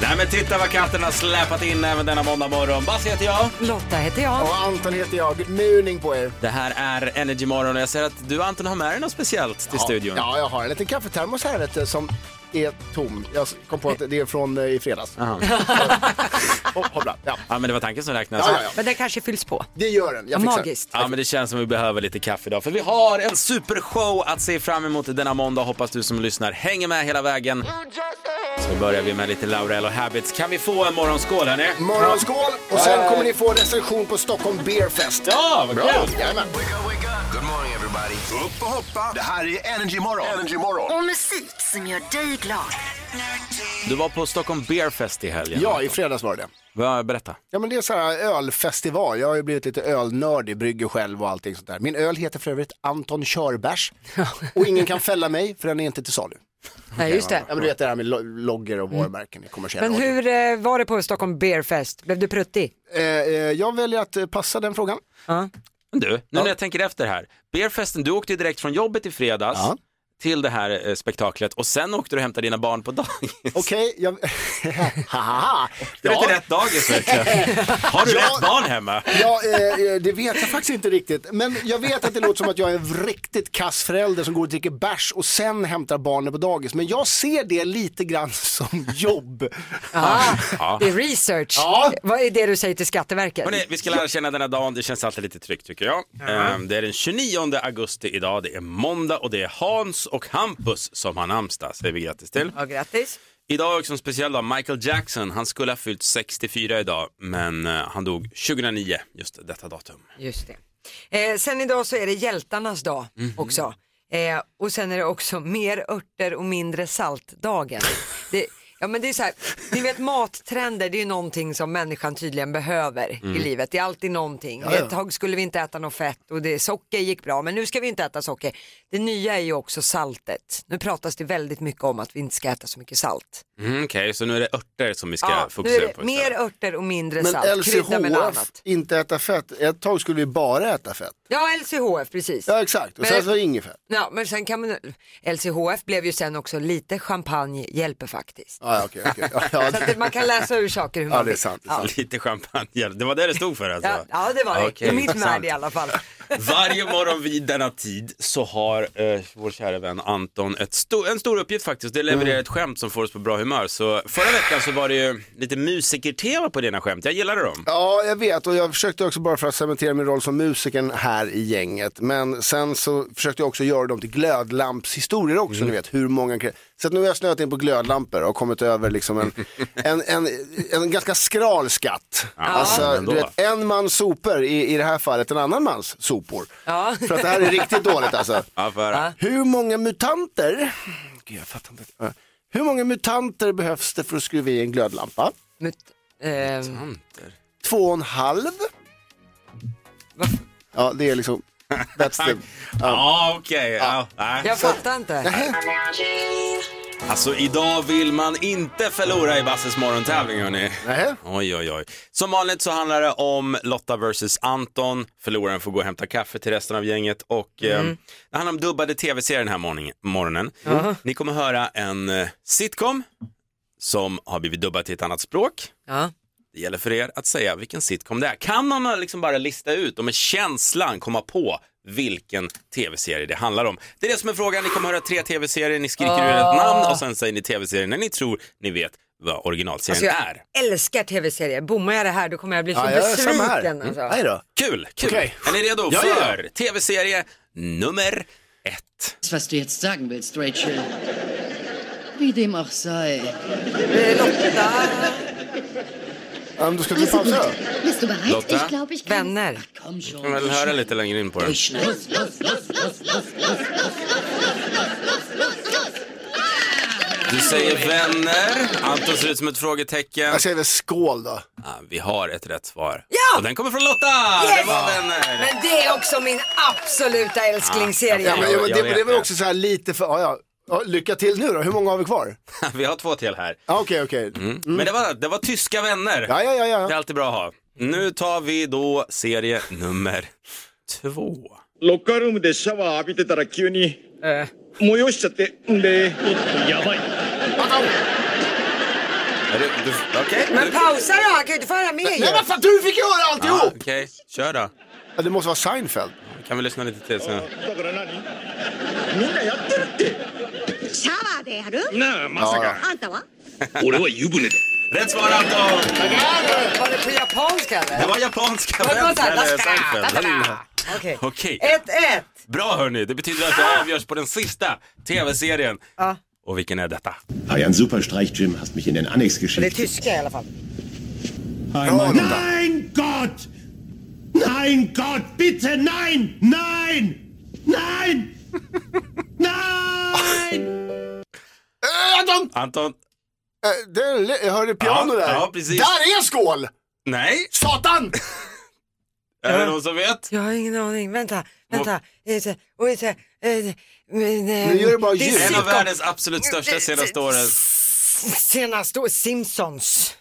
Nej men titta vad katten har släpat in även denna måndag morgon. Basse heter jag. Lotta heter jag. Och Anton heter jag, muning på er. Det här är Energy Morgon och jag ser att du Anton har med dig något speciellt till studion. Ja, jag har en liten kaffetermos här vet du, som är tom. Jag kom på att det är från eh, i fredags. Aha. Oh, hoppla. ja. Ja men det var tanken som räknades. Ja, ja, ja. Men den kanske fylls på. Det gör den, jag fixar den. Magiskt. Ja men det känns som vi behöver lite kaffe idag för vi har en supershow att se fram emot denna måndag. Hoppas du som lyssnar hänger med hela vägen. Så börjar vi med lite Laurel och Habits. Kan vi få en morgonskål hörni? Morgonskål och sen kommer ni få en recension på Stockholm Beer Fest. Ja, vad Bra! kul! Jajamän. Good morning everybody. Upp och hoppa. Det här är Energy Morgon. Energy Morgon. Och musik som gör dig glad. Du var på Stockholm Beer Fest i helgen. Ja, i fredags var det Va, Berätta. Ja men det är så här ölfestival, jag har ju blivit lite ölnördig, brygger själv och allting sånt där. Min öl heter för övrigt Anton Körbärs och ingen kan fälla mig för den är inte till salu. Nej, just det. Ja men du vet det här med lo- loggor och varumärken i kommersiell Men radio. hur eh, var det på Stockholm Beer Fest? Blev du pruttig? Eh, eh, jag väljer att eh, passa den frågan. Ja. Men Du, nu när jag tänker efter här. Beerfesten, du åkte ju direkt från jobbet i fredags Ja. till det här eh, spektaklet och sen åkte du och hämtade dina barn på dagis. Okej, jag... Haha. Det var inte rätt dagis verkligen. Har du Ja. rätt barn hemma? Ja, eh, eh, det vet jag faktiskt inte riktigt. Men jag vet att det låter som att jag är en riktigt kass förälder som går och dricker bärs och sen hämtar barnen på dagis. Men jag ser det lite grann som jobb. Ah, Ja. Det är research. Ja. Vad är det du säger till Skatteverket? Hörrni, vi ska lära känna denna dagen, det känns alltid lite tryggt tycker jag. Ehm, Det är den 29 augusti idag, det är måndag och det är Hans och Hampus som har namnsdag, säger vi grattis till. Ja, grattis. Idag är också en speciell dag, Michael Jackson, han skulle ha fyllt 64 idag men eh, han dog 2009, just detta datum. Just det. Eh, sen idag så är det hjältarnas dag Mhm. också. Eh, och sen är det också mer örter och mindre salt-dagen. Det, ja, men det är så här, ni vet mattrender det är ju någonting som människan tydligen behöver i Mm. livet. Det är alltid någonting. Ett tag skulle vi inte äta något fett och det, socker gick bra men nu ska vi inte äta socker. Det nya är ju också saltet. Nu pratas det väldigt mycket om att vi inte ska äta så mycket salt. Mm, Okej, så nu är det örter som vi ska Ja, nu är fokusera på det mer istället. örter och mindre Men salt. Krydda med något LCHF, annat. inte äta fett. Ett tag skulle vi bara äta fett. Ja, LCHF precis. Ja, exakt. Och sen Men- så var det inget fett. Ja, men sen kan man, LCHF blev ju sen också lite champagne hjälper faktiskt. Ja, ja, okej, okej. Ja, ja, Så att det- man kan läsa ur saker hur man ja, det är vill. sant. Det är Ja. sant. Lite champagne, det var det det stod för alltså? Ja, ja, det var det. Okej, I mitt intressant. värld i alla fall. Varje morgon vid denna tid så har eh, vår kära vän Anton ett sto- en stor uppgift faktiskt. Det levererar ett skämt som får oss på bra humör. Så förra veckan så var det ju lite musiker-tema på dina skämt. Jag gillade dem. Ja, jag vet och jag försökte också bara för att cementera min roll som musikern här i gänget. Men sen så försökte jag också göra dem till glödlampshistorier också, Mm. ni vet hur många kre- Så att nu har jag snöat in på glödlampor och kommit över liksom en, en, en, en ganska skral skatt. alltså, men då. du vet, en mans sopor, i, i det här fallet en annan mans sopor. Ja. För att det här är riktigt dåligt alltså. Ja, för... Hur många mutanter, Gud, jag fattar inte. Ja. hur många mutanter behövs det för att skruva i en glödlampa? Mut, ehm, Två och en halv. Ja, det är liksom... That's the... Ja, okej. Ja. nej. jag fattar inte. Alltså idag vill man inte förlora i Basses morgontävling hörni. Nähä. Oj, oj, oj. Som vanligt så handlar det om Lotta versus Anton. Förloraren får gå och hämta kaffe till resten av gänget och eh, det handlar om dubbade tv-serier den här morgonen. morgonen. Ni kommer höra en eh, sitcom som har blivit dubbad till ett annat språk. Ja. Det gäller för er att säga vilken sitcom det är. Kan man liksom bara lista ut och med känslan komma på vilken tv-serie det handlar om? Det är det som är frågan. Ni kommer höra tre tv-serier, ni skriker ur ett namn och sen säger ni tv-serien när ni tror ni vet vad originalserien Alltså är. jag älskar tv-serier. Bommar jag det här då kommer jag bli så Ja, jag är samma här. besviken. Alltså. Nej då. Kul, kul. Okej. Är ni redo Ja, ja. för tv-serie nummer ett? Was du jetzt sagen willst, Rachel. Wie dem auch sei. Eh, Lotta, Ja, men då ska du pausa då. Bist du bereit? Lotta? Ich glaube, ich kann. vänner. Komm schon. Jag vill höra lite längre in på den. Durchschneiden. Du säger vänner. Anton ser ut som ett frågetecken. Jag säger väl skål då. Ah, vi har ett rätt svar. Ja! Och den kommer från Lotta! Det Yes! var vänner. Men det är också min absoluta älsklingsserie. Ja, Ja, men, jag det, vet det var det. också så här lite för... Ja, ja. Ja, lycka till nu då. Hur många har vi kvar? Vi har två till här. Ja, Okej, okej. Men det var, det var tyska vänner. Ja, ja, Det ja. är Mm. ja. alltid bra att ha. Nu tar vi då serie nummer två. ロッカールームでシャワー浴びてたら急に、催しちゃってんで。 Anton! Är det- du- Okej, Men du- pausa då, han kan ju inte få höra mer ju. Nej men fan du fick ju höra Ja, alltihop! Okej, kör då. Ja, det måste vara Seinfeld. Kan vi lyssna lite till sen? だから何みんなやってるってシャワーでやるなあまさかあんたは俺は湯船だ Rätt svar Anton! Var det på japanska Det eller? var japanska Det var så här, eller daska, Seinfeld. daska. Okej. Okej. 1-1. Bra hörni, det betyder att Ah! det avgörs på den sista tv-serien. Ja. Och vilken är detta? Ah ja, ein super Streich, Jim. Hast mich in den Annex Det är geschickt. tyska i alla fall. Einmal- Lotta. nein, Gott! Nein, Gott, bitte, nein! Nein! Nein! Nein! Äh, Anton! Anton? Äh, det är, li- jag hörde piano Ja, där. ja, precis. Där är skål! Nej? Satan! Eh. Är det någon som vet? Jag har ingen aning, vänta, vänta. Nu eh, Nu gör du bara ljud. En av Sitcom. världens absolut största senaste åren. Senaste år- Simpsons.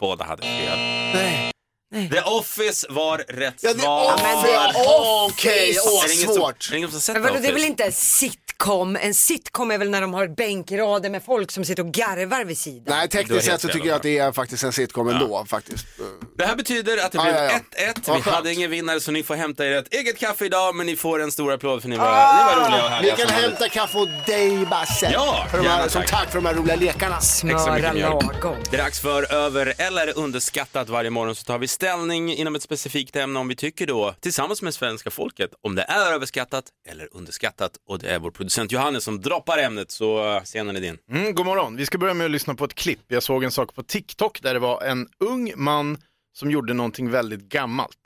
Båda hade Mm. fel. Nej. The Office var rätt Ja, svar. det, åh, det- åh, Okej, åh Är det ingen som- svårt. Är det ingen som har sett Men The vadå, det är väl Office? inte en sitcom? En sitcom är väl när de har bänkrader med folk som sitter och garvar vid sidan? Nej, Du har tekniskt helt sett så fel, tycker jag att det är faktiskt en sitcom ändå faktiskt. Mm. Det här betyder att det Ja, blev ja, ja. 1-1. Vi Vad skönt. hade ingen vinnare så ni får hämta er ett eget kaffe idag men ni får en stor applåd för ni var, Ah! ni var roliga och Vi härliga. kan som hämta kaffe åt dig Basse. Ja, för de gärna, här, som tack. tack för de här roliga lekarna. Extra Smöra mycket mjölk. lagom. Det är dags för över eller underskattat varje morgon så tar vi ställning inom ett specifikt ämne om vi tycker då tillsammans med svenska folket om det är överskattat eller underskattat och det är vår producent Johannes som droppar ämnet så eh, scenen är din. Mm, god morgon. Vi ska börja med att lyssna på ett klipp. Jag såg en sak på TikTok där det var en ung man som gjorde någonting väldigt gammalt.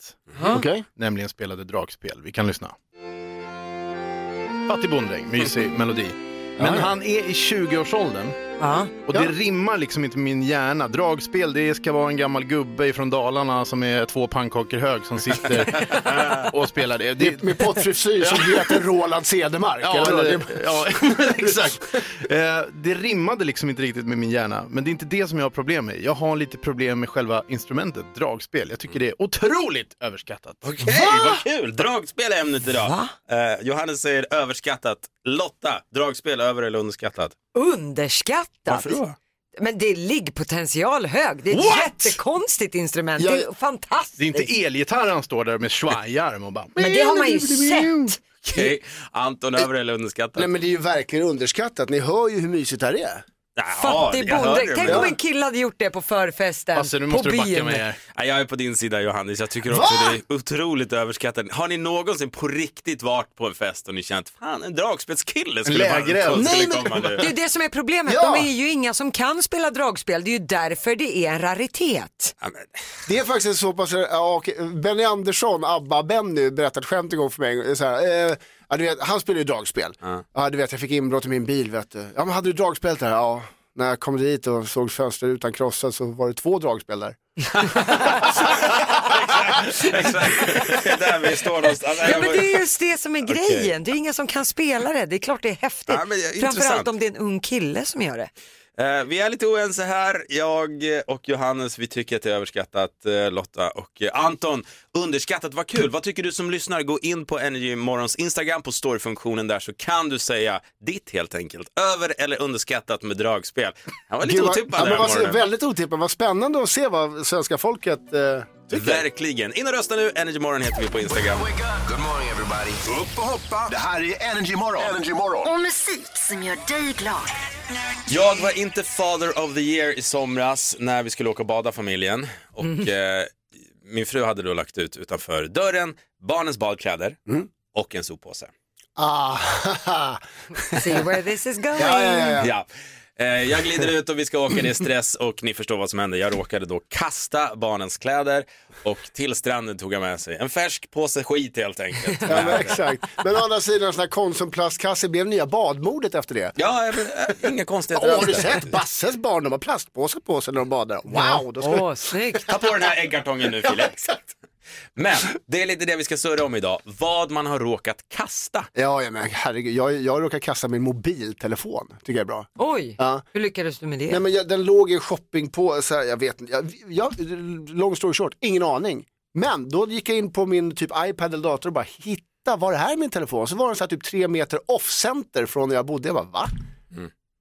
Okej. Nämligen spelade dragspel. Vi kan lyssna. Fattig bonddräng, mysig melodi. Men han är i 20-årsåldern Ja. och det rimmar liksom inte med min hjärna. Dragspel, det ska vara en gammal gubbe från Dalarna som är två pannkakor hög som sitter och spelar det. det Med, med pottfrisyr som heter Roland Cedermark. Ja, eller? eller, ja exakt. Eh, det rimmade liksom inte riktigt med min hjärna, men det är inte det som jag har problem med. Jag har lite problem med själva instrumentet dragspel. Jag tycker det är otroligt överskattat. Hej, vad kul! Dragspel är ämnet idag. Eh, Johannes säger överskattat. Lotta, dragspel över eller underskattat? Underskattat. Varför då? Men det är liggpotential hög. Det är ett jättekonstigt instrument. Jag- Det är fantastiskt. Det är inte elgitarr han står där med svajarm och bara... Men det har man ju sett. Okej, Anton över eller underskattat? Nej men det är ju verkligen underskattat. Ni hör ju hur mysigt det här är. Jaha, Fattig jag hörde bonde. det, Tänk men- om en kille hade gjort det på förfesten. Alltså nu på måste du backa byn. mig här. Nej, Jag är på din sida Johannes, jag tycker också Va? det är otroligt överskattat. Har ni någonsin på riktigt varit på en fest och ni känt, fan en dragspelskille skulle vara lägereld. skulle Nej, komma nu. Det är det som är problemet. Ja. De är ju inga som kan spela dragspel. Det är ju därför det är en raritet. Ja, men, Det är faktiskt så pass, ja, okej. Benny Andersson, ABBA-Benny, berättade ett skämt en gång för mig. Så här, eh, ja, du vet, han spelar ju dragspel. Ja. du vet, jag fick inbrott i min bil. Vet du. Ja, men hade du dragspel där? Ja. När jag kom dit och såg fönstret utan krossat så var det två dragspel där. Exakt, det är där vi står någonstans. Ja, men det är just det som är grejen. Det är inga som kan spela det. Det är klart det är häftigt. Ja, men det är intressant. Framförallt om det är en ung kille som gör det. Eh, vi är lite oense här, jag eh, och Johannes, vi tycker att det är överskattat, eh, Lotta och eh, Anton, underskattat, vad kul. Vad tycker du som lyssnar? Gå in på Energy Morgons Instagram på storyfunktionen där så kan du säga ditt helt enkelt, över eller underskattat med dragspel. Han var lite Gud, vad- otippad ja, den men här vad, morgonen. Väldigt otippat, vad spännande att se vad svenska folket eh, tycker. Verkligen. In och rösta nu. Energy Morgon heter vi på Instagram. Wake up. Good morning everybody. Upp och hoppa. Det här är Energy Morgon. Energy Morgon. Och musik som gör dig glad. Jag var inte father of the year i somras när vi skulle åka och bada familjen. Och eh, min fru hade då lagt ut utanför dörren barnens badkläder Mm. och en soppåse. Ah, See where this is going. ja, ja, ja, ja. Ja. Eh, Jag glider ut och vi ska åka, det är stress och ni förstår vad som hände. Jag råkade då kasta barnens kläder och till stranden tog jag med sig en färsk påse skit helt enkelt. Ja, men, exakt. Men å andra sidan, sådana här Konsumplastkasser blev nya badmodet efter det. Ja, men, eh, inga konstigheter. Åh, har alls du där. sett Basses barn? De har plastpåsar på sig när de badar. Wow! Då ska Åh, snyggt. Ta på den här äggkartongen nu Filip. Men det är lite det vi ska surra om idag. Vad man har råkat kasta. Ja, ja, men herregud. Jag, jag råkade kasta min mobiltelefon. Tycker jag är bra. Oj, Ja. hur lyckades du med det? Nej, men jag, den låg i en shopping på, så här, jag vet inte. Jag, jag, long story short, ingen aning. Men då gick jag in på min typ iPad eller dator och bara Mm. hitta, var det här min telefon? Så var den så här, typ tre meter off-center från där jag bodde. Jag bara, va?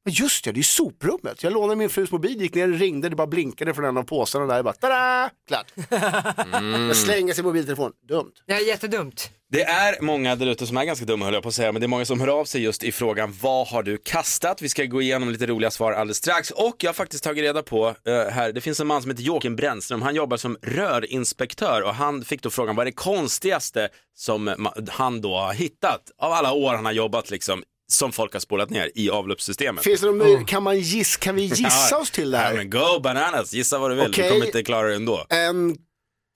Men just det, det är ju soprummet. Jag lånade min frus mobil, gick ner och ringde, det bara blinkade från en av påsarna där. Jag bara, tada! Klart. Mm. Jag slänger sin mobiltelefon, dumt. Det är jättedumt. Det är många där ute som är ganska dumma höll jag på att säga, men det är många som hör av sig just i frågan vad har du kastat? Vi ska gå igenom lite roliga svar alldeles strax och jag har faktiskt tagit reda på eh, här, det finns en man som heter Joakim Brännström, han jobbar som rörinspektör och han fick då frågan vad är det konstigaste som ma- han då har hittat av alla år han har jobbat liksom som folk har spolat ner i avloppssystemet. Finns det någon möj- kan, man giss, kan vi gissa Ja. oss till det Ja, här? men go bananas, gissa vad du vill, Okej. du kommer inte klara det ändå. En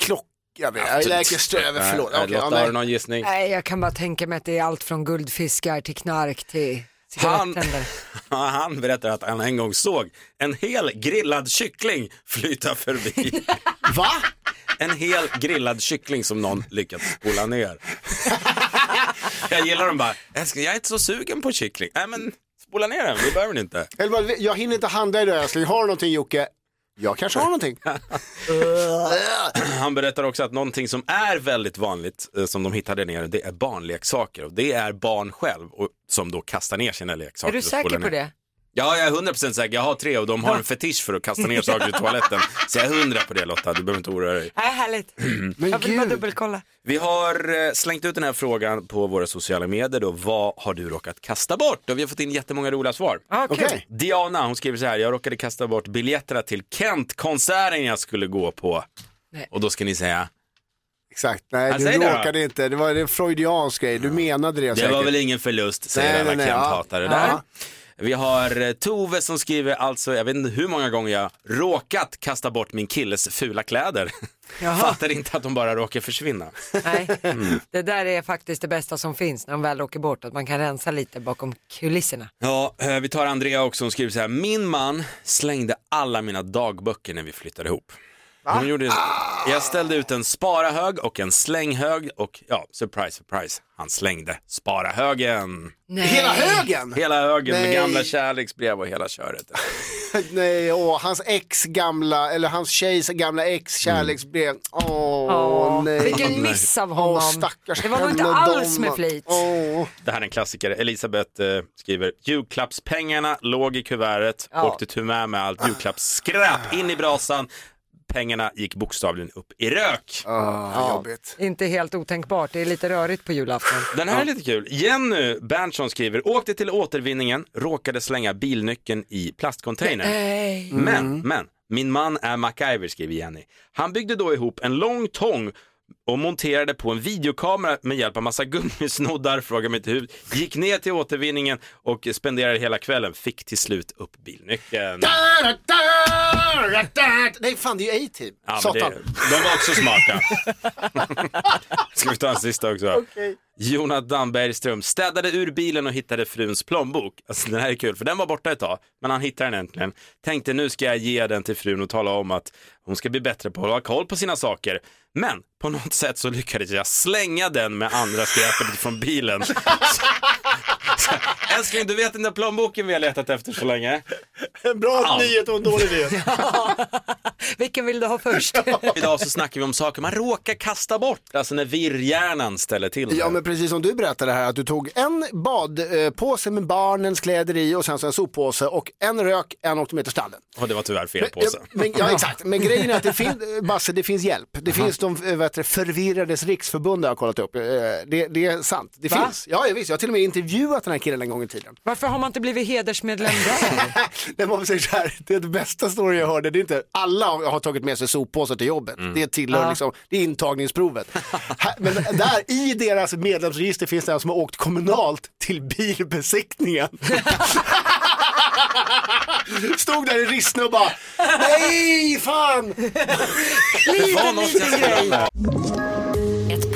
klocka, jag vet. Jag läker ströver, förlåt. Nej, Okej, ja, Lotta, har du nej. någon gissning? Nej, jag kan bara tänka mig att det är allt från guldfiskar till knark till Han- cigarettänder. Han berättar att han en gång såg en hel grillad kyckling flyta förbi. Va? En hel grillad kyckling som någon lyckats spola ner. Jag gillar dem bara, älskling jag är inte så sugen på kyckling. Nej men spola ner den, vi behöver den inte. Eller bara, jag hinner inte handla idag älskling, har du någonting Jocke? Jag kanske har någonting. Han berättar också att någonting som är väldigt vanligt eh, som de hittade ner det är barnleksaker. Och det är barn själv och, som då kastar ner sina leksaker. Är du och spolar säker på ner. det? Ja, jag är 100% säker. Jag har tre och de har en fetisch för att kasta ner saker i toaletten. Så jag är 100 på det Lotta, du behöver inte oroa dig. Nej, härligt. Men Jag vill bara gud, dubbelkolla. Vi har eh, slängt ut den här frågan på våra sociala medier då. Vad har du råkat kasta bort? Och vi har fått in jättemånga roliga svar. Ah, okej. kul. Diana, hon skriver så här. Jag råkade kasta bort biljetterna till Kent-konserten jag skulle gå på. Nej. Och då ska ni säga, Exakt, nej Ja, du säg det då. råkade inte, det var en freudiansk grej, du menade det, det säkert. var väl ingen förlust, säger Nej, alla nej, nej, Kent-hatare ja. där. Ja. Vi har eh, Tove som skriver, alltså jag vet inte hur många gånger jag råkat kasta bort min killes fula kläder. Jaha. Fattar inte att de bara råkar försvinna. Nej, det där är faktiskt det bästa som finns när de väl åker bort, att man kan rensa lite bakom kulisserna. Ja, eh, vi tar Andrea också, hon skriver så här, min man slängde alla mina dagböcker när vi flyttade ihop. Hon gjorde, Ah! jag ställde ut en sparahög och en slänghög och ja, surprise, surprise, han slängde sparahögen. Hela högen! Hela högen med Nej. gamla kärleksbrev och hela köret. Nej, åh, hans ex gamla, eller hans tjejs gamla ex kärleksbrev. Åh, nej. Mm. Vilken miss av honom. Åh, stackars det var nog inte henne, alls de- med flit. Åh. Det här är en klassiker, Elisabeth eh, skriver, julklappspengarna låg i kuvertet, Ja. åkte tyvärr med allt julklappsskräp in i brasan, pengarna gick bokstavligen upp i rök. Ah, jobbigt. Inte helt otänkbart, det är lite rörigt på julafton. Den här är lite kul. Jenny Berntsson skriver, åkte till återvinningen, råkade slänga bilnyckeln i plastcontainer. Nej. Men, men, min man är MacGyver skriver Jenny. Han byggde då ihop en lång tång och monterade på en videokamera med hjälp av massa gummisnoddar, fråga mig inte hur, gick ner till återvinningen och spenderade hela kvällen, fick till slut upp bilnyckeln. Da, da, da, da, da. Nej, fan det är ju A-Team. Ja, men Satan. Det, de var också smarta. Ska vi ta en sista också? Jonathan Bergström städade ur bilen och hittade fruns plånbok. Alltså, den här är kul, för den var borta ett tag, men han hittade den äntligen. Tänkte nu ska jag ge den till frun och tala om att hon ska bli bättre på att ha koll på sina saker. Men på något sätt så lyckades jag slänga den med andra skräpet från bilen. Så, så, älskling, du vet den där plånboken vi har letat efter så länge. En bra nyhet och en dålig nyhet. Vilken vill du ha först? Idag så snackar vi om saker man råkar kasta bort, alltså när virrhjärnan ställer till det. Ja men precis som du berättade här att du tog en badpåse med barnens kläder i och sen så en soppåse och en rök, en åkte med till stallen. Och det var tyvärr fel påse. Ja, men, ja exakt, men grejen är att det finns, Basse det finns hjälp. Det finns de eh, vad heter det, förvirrades riksförbund har jag kollat upp. Eh, Det, det är sant, det Va? finns. Ja, ja visst, jag har till och med intervjuat den här killen en gång i tiden. Varför har man inte blivit hedersmedlem där? Nej, man säger så här, det är det bästa story jag hörde, det är inte alla har har tagit med sig soppåsar till jobbet. Det tillhör liksom, det är intagningsprovet. Här- Men där i deras medlemsregister finns det en som har åkt kommunalt till bilbesiktningen. Stod där i Rissne och bara, nej fan! Det var något jag skulle Ett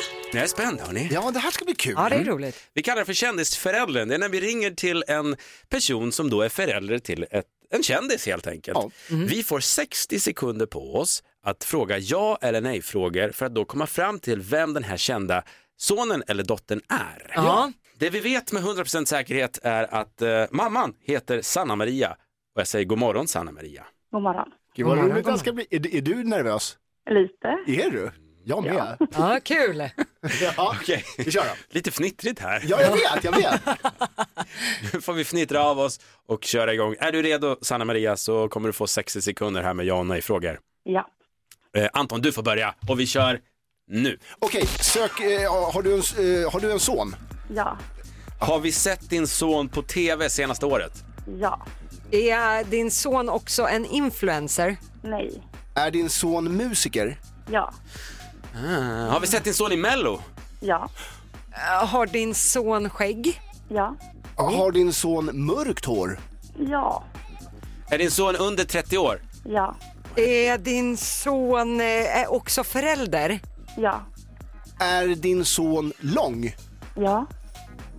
Jag är spänd hörni. Ja, det här ska bli kul. Ja, det är roligt. Vi kallar det för kändisföräldern. Det är när vi ringer till en person som då är förälder till ett, en kändis helt enkelt. Vi får 60 sekunder på oss att fråga ja eller nej frågor för att då komma fram till vem den här kända sonen eller dottern är. Ja. Det vi vet med 100% säkerhet är att eh, mamman heter Sanna Maria och jag säger god morgon Sanna Maria. God morgon. Gud vad Mm. roligt det här ska bli. Är, är du nervös? Lite. Är du? Jag med. Ja, kul. Ja, Okej, vi kör då. Lite fnittrigt här. Ja, jag vet, jag vet. Nu får vi fnittra av oss och köra igång. Är du redo Sanna Maria så kommer du få 60 sekunder här med ja och nej-frågor. Ja. Eh, Anton, du får börja och vi kör nu. Okej, sök, eh, har, du en, s- eh, har du en son? Ja. Har vi sett din son på tv senaste året? Ja. Är din son också en influencer? Nej. Är din son musiker? Ja. Ah, har vi sett din son i Mello? Ja. Har din son skägg? Ja. Har din son mörkt hår? Ja. Är din son under 30 år? Ja. Är din son eh, är också förälder? Ja. Är din son lång? Ja.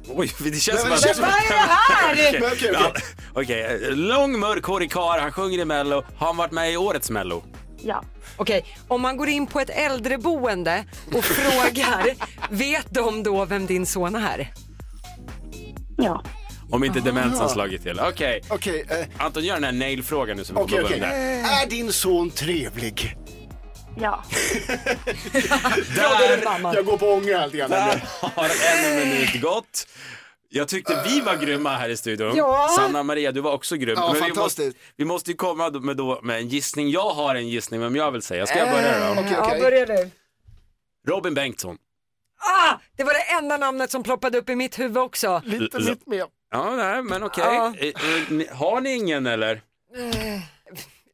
Oj, det känns som Men att... det känns som- Vad är det här? Okej, Men okej, okej. ja, Okej, eh, lång mörkhårig karl, han sjunger i Mello. Har han varit med i årets Mello? Ja. Okej, om man går in på ett äldreboende och frågar, vet de då vem din son är? Ja. Om inte Aha. demensen slagit till. Okej. Okej. Anton, gör den här nail-frågan nu som vi Okej, kommer okej. börja med. Är din son trevlig? Ja. Där, jag går på ånger lite grann. Där har en minut gått. Jag tyckte vi var grymma här i studion. Ja. Sanna Maria, du var också grym. Ja, vi, måste, fantastiskt. vi måste ju komma med, då, med en gissning. Jag har en gissning, vem jag vill säga. Ska jag Eh, börja då? börja du. Robin Bengtsson. Ah, det var det enda namnet som ploppade upp i mitt huvud också. Lite mitt med. Ja, nej, men okej. Ja. Eh, eh, ni- Har ni ingen eller? Eh,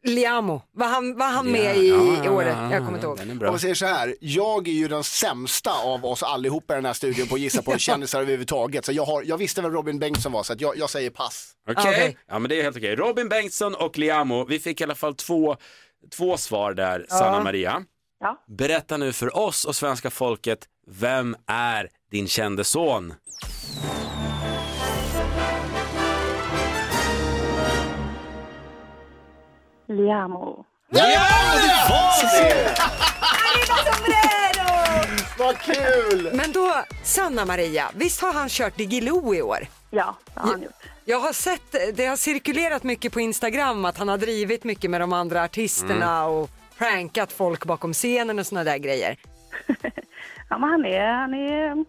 Liamo, var han, var han Ja, med i, ja, i ja, året? ja, Jag kommer inte ja, ihåg. den är Om vi säger så här, jag är ju den sämsta av oss allihopa i den här studion på att gissa på kändisar överhuvudtaget. Så jag, har, jag visste vem Robin Bengtsson var så att jag, jag säger pass. Okej, ja men det är helt okej. Robin Bengtsson och Liamo, vi fick i alla fall två, två svar där, Ja. Sanna Maria. Ja. Berätta nu för oss och svenska folket, vem är din kände son? Liamo. Vad kul! Men då, Sanna-Maria, visst har han kört Digilo i år? Ja, det har han gjort. Jag har sett, det har cirkulerat mycket på Instagram att han har drivit mycket med de andra artisterna Mm. och prankat folk bakom scenen och såna där grejer. Ja, men han är, han är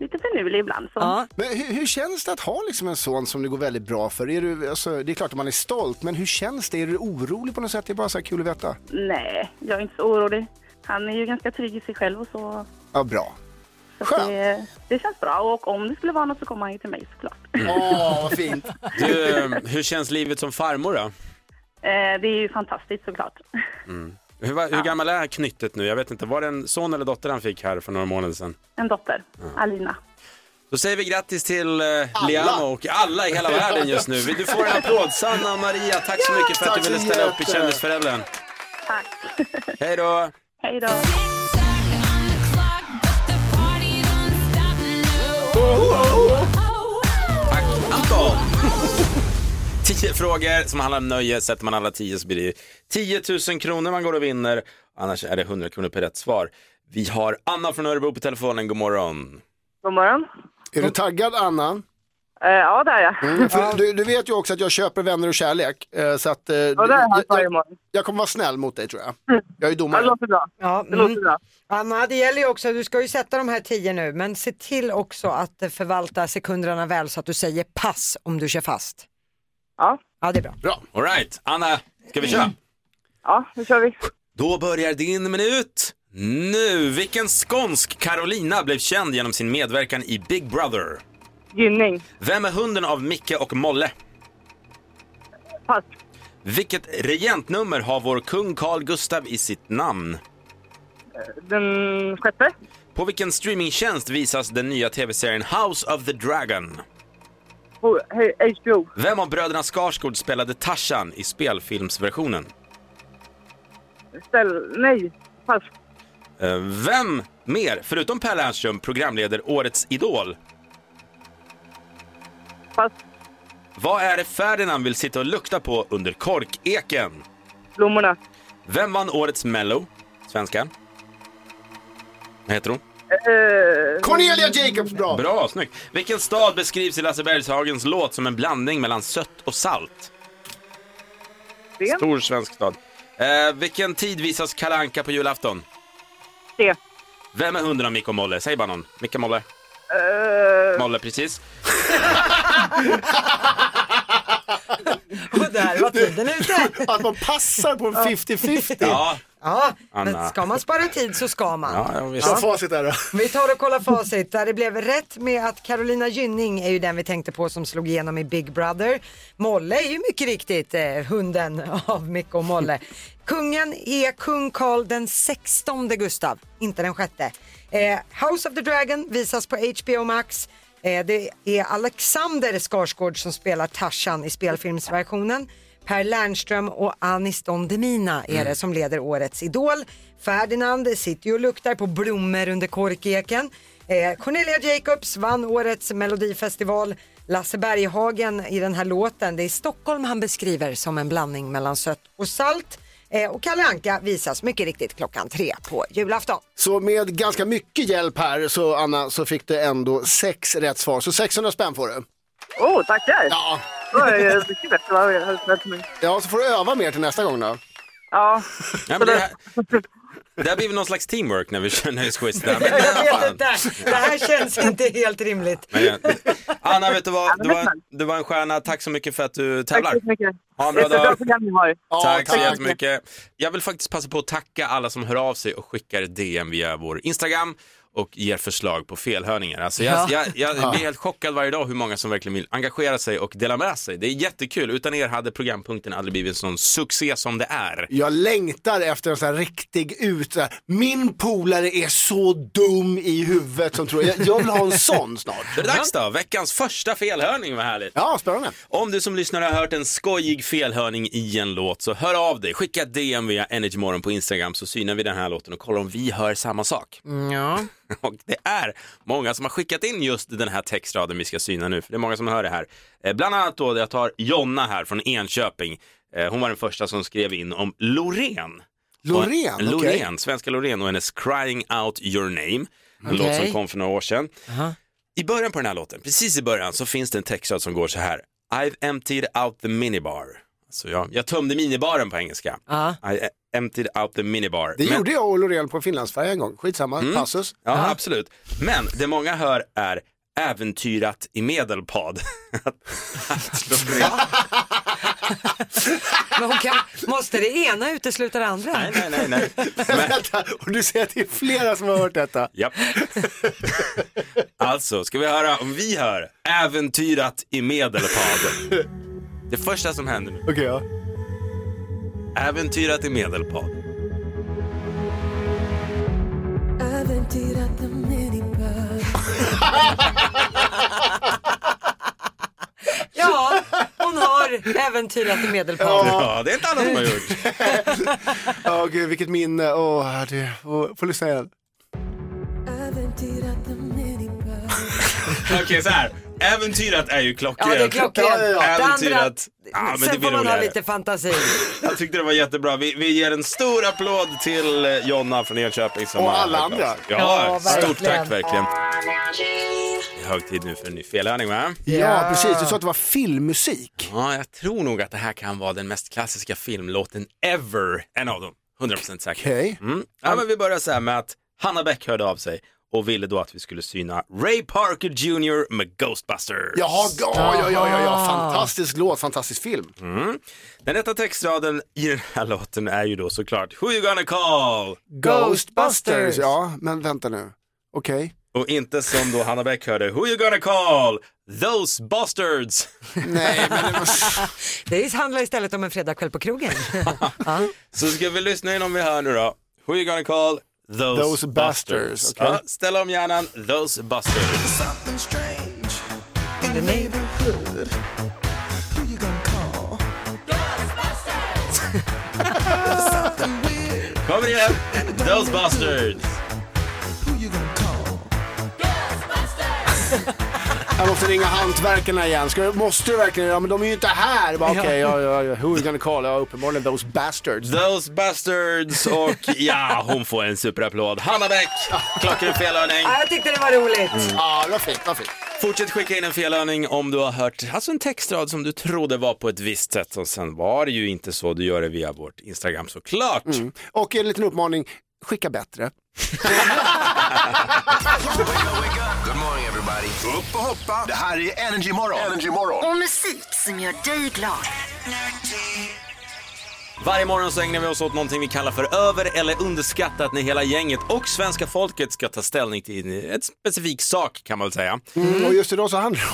lite finurlig ibland. Så. Men hur, hur känns det att ha liksom en son som det går väldigt bra för? Är du, alltså, det är klart att man är stolt, men hur känns det? Är du orolig på något sätt? Det är bara så här kul att veta. Nej, jag är inte så orolig. Han är ju ganska trygg i sig själv och så. Ja, bra. så att det, det känns bra. Och om det skulle vara något så kommer han ju till mig såklart. Mm. Åh, vad fint. Du, eh, hur känns livet som farmor då? Eh, det är ju fantastiskt såklart. Mm. Hur, va- hur gammal är knyttet nu? Jag vet inte, var det en son eller dotter han fick här för några månader sedan? En dotter, Mm. Alina. Då säger vi grattis till eh, Liamo och alla i hela världen just nu. Du får en applåd. Sanna och Maria, tack så mycket för att du Tack så ville ställa upp i jätte. Kändisföräldern. Tack. Hej då. Hej då. Anton! Tio frågor som handlar om nöje. Sätter man alla tio så blir det 10 000 kronor man går och vinner. Annars är det 100 kronor per rätt svar. Vi har Anna från Örebro på telefonen. God morgon. God morgon. Eh, Är du taggad, Anna? ja, det är jag. Mm, för du, du vet ju också att jag köper vänner och kärlek. eh, Så att, eh, det är han varje jag, jag kommer vara snäll mot dig tror jag. Jag är domare. Det låter bra. Ja, Det Mm. låter bra. Anna, det gäller ju också, du ska ju sätta de här tio nu, men se till också att eh, förvalta sekunderna väl så att du säger pass om du kör fast. Ja. Ja, det är bra. Bra. All right. Anna, ska vi köra? Ja, nu kör vi. Då börjar din minut nu. Vilken skånsk Carolina blev känd genom sin medverkan i Big Brother? Gynning. Vem är hunden av Micke och Molle? Pass. Vilket regentnummer har vår kung Carl Gustav i sitt namn? Den sjätte. På vilken streamingtjänst visas den nya tv-serien House of the Dragon? Ho- he- HBO. Vem av bröderna Skarsgård spelade Tarzan i spelfilmsversionen? Ställ... Nej. Pass. Eh, Vem mer, förutom Per Lernström, programleder Årets Idol? Pass. Vad är det Ferdinand vill sitta och lukta på under korkeken? Blommorna. Vem vann Årets Mello? Svenskan. Vad heter hon? Eh, Cornelia Jacobs bra! Bra, snyggt. Vilken stad beskrivs i Lasse Bergshagens låt som en blandning mellan sött och salt? Sten. Stor svensk stad. Eh, vilken tid visas Kalle Anka på julafton? Det. Vem är hunden av Micke och Molle? Säg bara någon. Micke Molle. Molle, precis. Och där var tiden ute. Att man passar på en 50-50. Ja. Ja, Anna. men ska man spara tid så ska man. Ja, ja, visst. Så facit är då. Vi tar och kollar facit. Där det blev rätt med att Carolina Gynning är ju den vi tänkte på som slog igenom i Big Brother. Molle är ju mycket riktigt eh, hunden av Micke och Molle. Kungen är kung Karl den 16 Gustav, inte den sjätte. Eh, House of the Dragon visas på HBO Max. Eh, det är Alexander Skarsgård som spelar Tarzan i spelfilmsversionen. Per Lernström och Anis Don Demina är det som leder årets Idol. Ferdinand sitter ju och luktar på blommor under korkeken. Eh, Cornelia Jacobs vann årets melodifestival. Lasse Berghagen i den här låten, det är Stockholm han beskriver som en blandning mellan sött och salt. Eh, och Kalle Anka visas mycket riktigt klockan tre på julafton. Så med ganska mycket hjälp här så Anna så fick du ändå sex rätt svar. Så 600 spänn får du. Åh, oh, tackar! Ja. Det var ju mycket bättre än vad jag hade förväntat mig. Ja, så får du öva mer till nästa gång då. Ja. Ja, men det, här, det här blir väl någon slags teamwork när vi kör nöjesquiz. där. Men, Jag vet fan. inte, det här känns inte helt rimligt. Men, jag- Anna, vet du vad? Du var, du var en stjärna. Tack så mycket för att du tävlar. Tack så mycket. Ha en bra dag. program ni har. Tack så jättemycket. Jag vill faktiskt passa på att tacka alla som hör av sig och skickar DM via vår Instagram och ger förslag på felhörningar. Alltså jag, Ja. jag, jag Ja. blir helt chockad varje dag hur många som verkligen vill engagera sig och dela med sig. Det är jättekul. Utan er hade programpunkten aldrig blivit en sån succé som det är. Jag längtar efter en sån här riktig ut, så här, min polare är så dum i huvudet som tror, jag, jag vill ha en sån snart. Då är det dags då. Veckans första felhörning, vad härligt. Ja, spännande. Om du som lyssnare har hört en skojig felhörning i en låt så hör av dig. Skicka DM via Energymorgon på Instagram så synar vi den här låten och kollar om vi hör samma sak. Ja. Och det är många som har skickat in just den här textraden vi ska syna nu, för det är många som hör det här. Eh, Bland annat då, jag tar Jonna här från Enköping. Eh, Hon var den första som skrev in om Loreen. Loreen, Och- okej. Loreen, svenska Loreen och hennes Crying Out Your Name. En Okej. låt som kom för några år sedan. I början på den här låten, precis i början, så finns det en textrad som går så här. I've emptied out the minibar. Så jag, jag tömde minibaren på engelska. I eh, emptied out the minibar. Det Men- gjorde jag och Loreen på en finlandsfärja en gång, skitsamma, Mm. passus. Ja, absolut. Men det många hör är äventyrat i Medelpad. Men hon kan, måste det ena utesluta det andra? Nej, nej, nej. nej. Vänta, och du säger att det är flera som har hört detta. Japp. Alltså, ska vi höra om vi hör äventyrat i Medelpad. Det första som händer nu. Okej, ja. Äventyrat i Medelpad. Ja, hon har äventyrat i Medelpad. Ja, det är inte alla som har gjort. Åh gud, vilket minne. Åh, det, åh, får lyssna igen. Okej, så här. Äventyrat är ju klockrent. Ja, det är klockrent. Ja, ja, ja. Det andra- Äventyrat. Ja, men det Sen blir får man ha roligare. lite fantasi. Jag tyckte det var jättebra. Vi, vi ger en stor applåd till eh, Jonna från Enköping. Som Och har alla hört av sig. andra. Ja, Ja, stort verkligen. tack verkligen. Det är hög tid nu för en ny felhörning va? Ja, precis. Du sa att det var filmmusik. Ja, jag tror nog att det här kan vara den mest klassiska filmlåten ever. En av dem. 100% säker. Okej. Mm. Ja, men vi börjar så här med att Hanna Beck hörde av sig och ville då att vi skulle syna Ray Parker Jr med Ghostbusters. Jaha, ja, ja, ja, ja, ja. fantastisk låt, fantastisk film. Mm. Den rätta textraden i den här låten är ju då såklart Who you gonna call? Ghostbusters. Ja, men vänta nu. Okej. Och inte som då Hanna Beck hörde Who you gonna call? Those bastards! Nej, men det, Det handlar istället om en fredagkväll på krogen. Ja. Så ska vi lyssna in om vi hör nu då. Who you gonna call? Those, Those busters. busters, okej. Ja, ställ om hjärnan. Those busters. Kommer igen! Ghostbusters! Jag måste ringa hantverkarna igen. Ska, måste du verkligen? Ja, men de är ju inte här. Bara, Okej, ja, Mm. ja, ja. who are you gonna call? Ja, uppenbarligen those bastards. Those bastards och ja, hon får en superapplåd. Hanna Bäck, klockren felhörning. Ja, jag tyckte det var roligt. Mm. Ja, det var fint, det var fint. Fortsätt skicka in en felhörning om du har hört alltså en textrad som du trodde var på ett visst sätt och sen var det ju inte så. Du gör det via vårt Instagram såklart. Och en liten uppmaning, skicka bättre. Good morning everybody. Upp och hoppa. Det här är Energy Morgon. Energy Morgon. Och musik som gör dig glad. Varje morgon så ägnar vi oss åt någonting vi kallar för över eller underskattat när hela gänget och svenska folket ska ta ställning till en specifik sak kan man väl säga. Mm. Och just idag så handlar det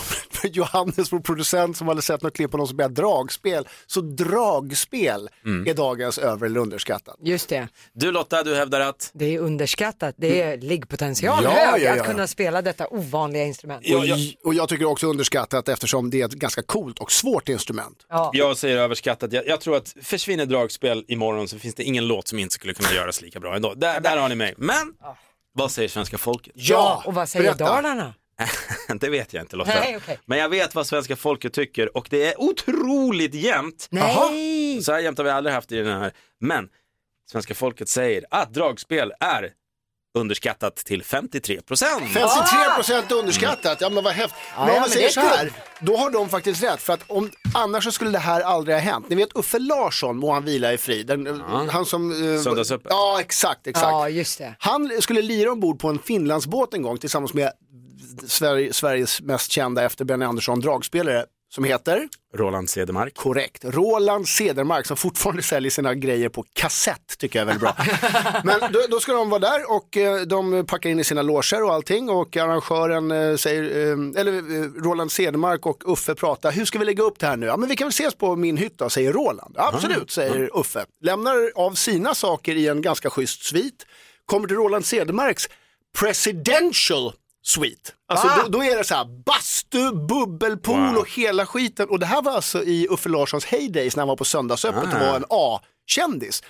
om Johannes, vår producent, som hade sett något klipp på någon som spelade dragspel. Så dragspel Mm. är dagens över eller underskattat. Just det. Du Lotta, du hävdar att Det är underskattat. Det Mm. är liggpotential Ja, hög ja, ja, att ja. kunna spela detta ovanliga instrument. Och, och jag tycker också underskattat eftersom det är ett ganska coolt och svårt instrument. Jag säger överskattat. Jag, jag tror att försvinner dragspel imorgon så finns det ingen låt som inte skulle kunna göras lika bra ändå. Där, där har ni mig. Men Ah. vad säger svenska folket? Ja, och vad säger berätta. Dalarna? det vet jag inte Lotta. Nej, okej. Men jag vet vad svenska folket tycker och det är otroligt jämnt. Nej. Så här jämnt har vi aldrig haft i den här. Men svenska folket säger att dragspel är underskattat till 53 procent. 53 alltså, procent underskattat, ja men vad häftigt. Ja, ja, men men om man det säger är så här, kul. då har de faktiskt rätt för att om, annars så skulle det här aldrig ha hänt. Ni vet Uffe Larsson, må han vila i frid, den, han som... eh, Söndagsöppet. Ja exakt, exakt. Ja, just det. Han skulle lira ombord på en Finlandsbåt en gång tillsammans med Sverige, Sveriges mest kända efter Benny Andersson dragspelare som heter? Roland Cedermark. Korrekt. Roland Cedermark som fortfarande säljer sina grejer på kassett tycker jag är väldigt bra. Men då, då ska de vara där och eh, de packar in i sina loger och allting och arrangören eh, säger, eh, eller eh, Roland Cedermark och Uffe pratar, hur ska vi lägga upp det här nu? Ja men vi kan väl ses på min hytta, säger Roland. Absolut, säger Uffe. Lämnar av sina saker i en ganska schysst svit, kommer till Roland Cedermarks presidential suite. Alltså Va? då, då är det så här bastu, bubbelpool Ah! Wow. och hela skiten. Och det här var alltså i Uffe Larssons heydays när han var på Söndagsöppet Ah. och var en A-kändis.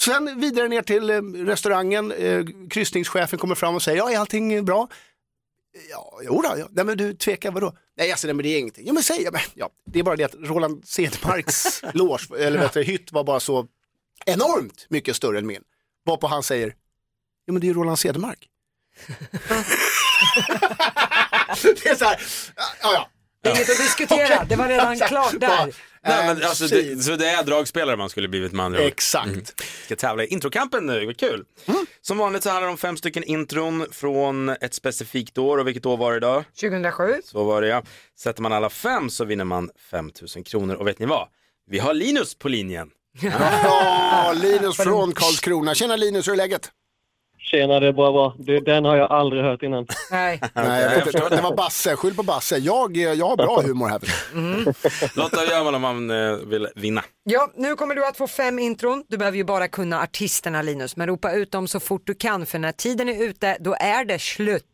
Sen vidare ner till eh, restaurangen, eh, kryssningschefen kommer fram och säger, ja är allting bra? Ja, jo då, ja. Nej men du tvekar, vadå? Nej alltså nej, men det är ingenting. Jo men säg, ja, men, ja. det är bara det att Roland Cedermarks loge, eller vet du, hytt var bara så enormt mycket större än min. Varpå han säger, jo men det är ju Roland Cedermark. det är så här, ja, ja. Det är inget att diskutera, Okej. det var redan klart där. Nej, men alltså, det, så det är dragspelare man skulle blivit med andra ord. Eh, Exakt. Ska tävla i introkampen nu, vad kul. Mm. Som vanligt så handlar det om fem stycken intron från ett specifikt år och vilket år var det idag? 2007. Så var det ja. Sätter man alla fem så vinner man 5 000 kronor och vet ni vad? Vi har Linus på linjen. Ja, Linus från Karlskrona. Tjena Linus, hur är läget? Tjena, det är bara bra. Du, den har jag aldrig hört innan. Nej. Nej, jag vet inte. det var Basse, skyll på Basse. Jag, eh, jag har bra humor här. Lotta, hur gör man om man eh, vill vinna? Ja, nu kommer du att få fem intron. Du behöver ju bara kunna artisterna Linus, men ropa ut dem så fort du kan för när tiden är ute, då är det slut.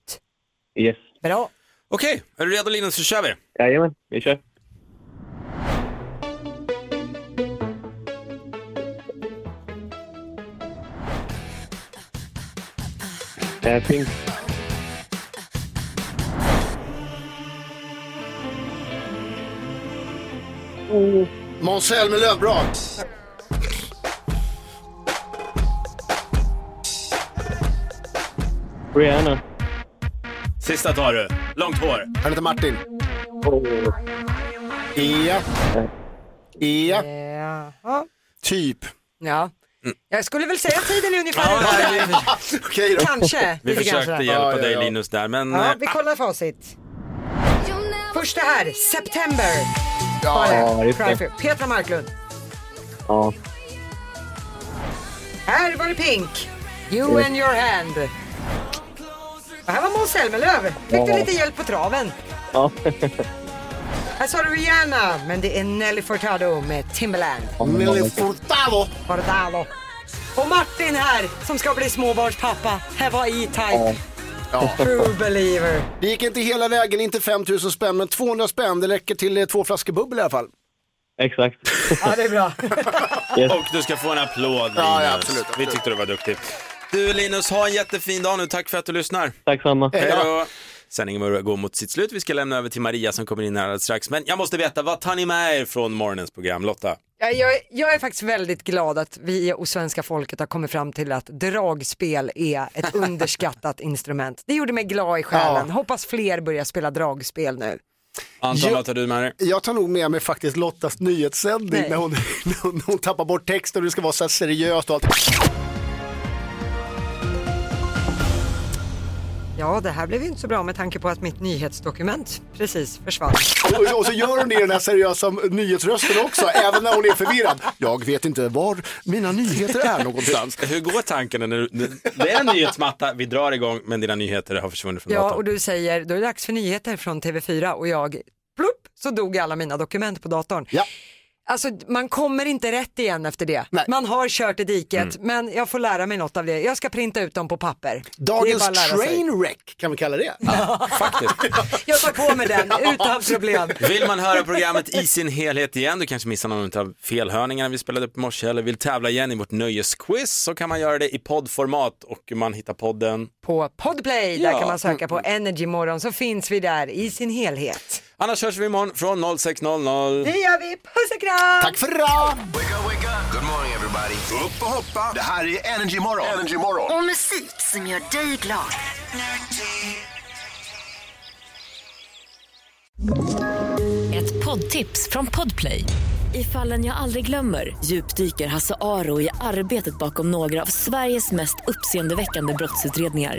Yes. Bra. Okej, är du redo Linus så kör vi. Jajamän, vi kör. Eh, Pink. Måns Zelmerlöw, bra. Rihanna. Sista tar du. Långt hår. Han heter Martin. Ja. Ja. Jaha. Typ. Ja. Mm. Jag skulle väl säga att tiden är ungefär Ja, Okej då. Kanske. Vi Lite grann försökte sådär. hjälpa Ja, ja, dig ja. Linus där men... Ja, eh, vi kollar facit. Första här, September. Ja, Var det. ja, just det. Cry for- Petra Marklund. Ja. Här var det Pink. You and your hand. Och här var Måns Zelmerlöw. Fick du Ja. lite hjälp på traven. Ja. Här sa du Rihanna, men det är Nelly Furtado med Timberland. Mm. Nelly Furtado. Furtado. Och Martin här, som ska bli småbarnspappa. Här var E-Type. True believer. Det gick inte hela vägen, inte 5 000 spänn, men 200 spänn. Det räcker till eh, två flaskor bubbel i alla fall. Exakt. Ja, det är bra. Och du ska få en applåd, Linus. Ja, ja, absolut, Vi tyckte du var duktig. Du, Linus, ha en jättefin dag nu. Tack för att du lyssnar. Tack samma. Hej då. Sändningen börjar gå mot sitt slut. Vi ska lämna över till Maria som kommer in här alldeles strax. Men jag måste veta, vad tar ni med er från morgonens program, Lotta? Ja, Jag, är- jag är faktiskt väldigt glad att vi och svenska folket har kommit fram till att dragspel är ett underskattat instrument. Det gjorde mig glad i själen. Hoppas fler börjar spela dragspel nu. Anton, Jo- vad tar du med dig? Jag tar nog med mig faktiskt Lottas nyhetssändning när hon, när, hon, när hon tappar bort texten och det ska vara så här seriöst och allt. Ja, det här blev ju inte så bra med tanke på att mitt nyhetsdokument precis försvann. Och, och så gör hon det i den här seriösa nyhetsrösten också, även när hon är förvirrad. Jag vet inte var mina nyheter är någonstans. Hur, hur går tankarna nu? Det är en nyhetsmatta, vi drar igång, men dina nyheter har försvunnit från Ja, datorn. och du säger då är det dags för nyheter från TV4 och jag, plupp, så dog alla mina dokument på datorn. Ja. Alltså man kommer inte rätt igen efter det. Man har kört i diket men jag får lära mig något av det. Jag ska printa ut dem på papper. Det är bara att Dagens lära sig. trainwreck kan vi kalla det. Jag tar på mig den utan problem. Vill man höra programmet i sin helhet igen, du kanske missar någon av felhörningarna vi spelade upp i morse eller vill tävla igen i vårt nöjesquiz så kan man göra det i poddformat och man hittar podden. På Podplay, där Ja. kan man söka på Energy Morgon så finns vi där i sin helhet. Annars hörs vi imorgon från 06.00. Det gör vi, puss och kram! Tack för idag! Good morning everybody. Upp och hoppa. Det här är Energy Morgon. Energy Morgon. Och musik som gör dig glad. Ett poddtips från Podplay. I fallen jag aldrig glömmer djupdyker Hasse Aro i arbetet bakom några av Sveriges mest uppseendeväckande brottsutredningar.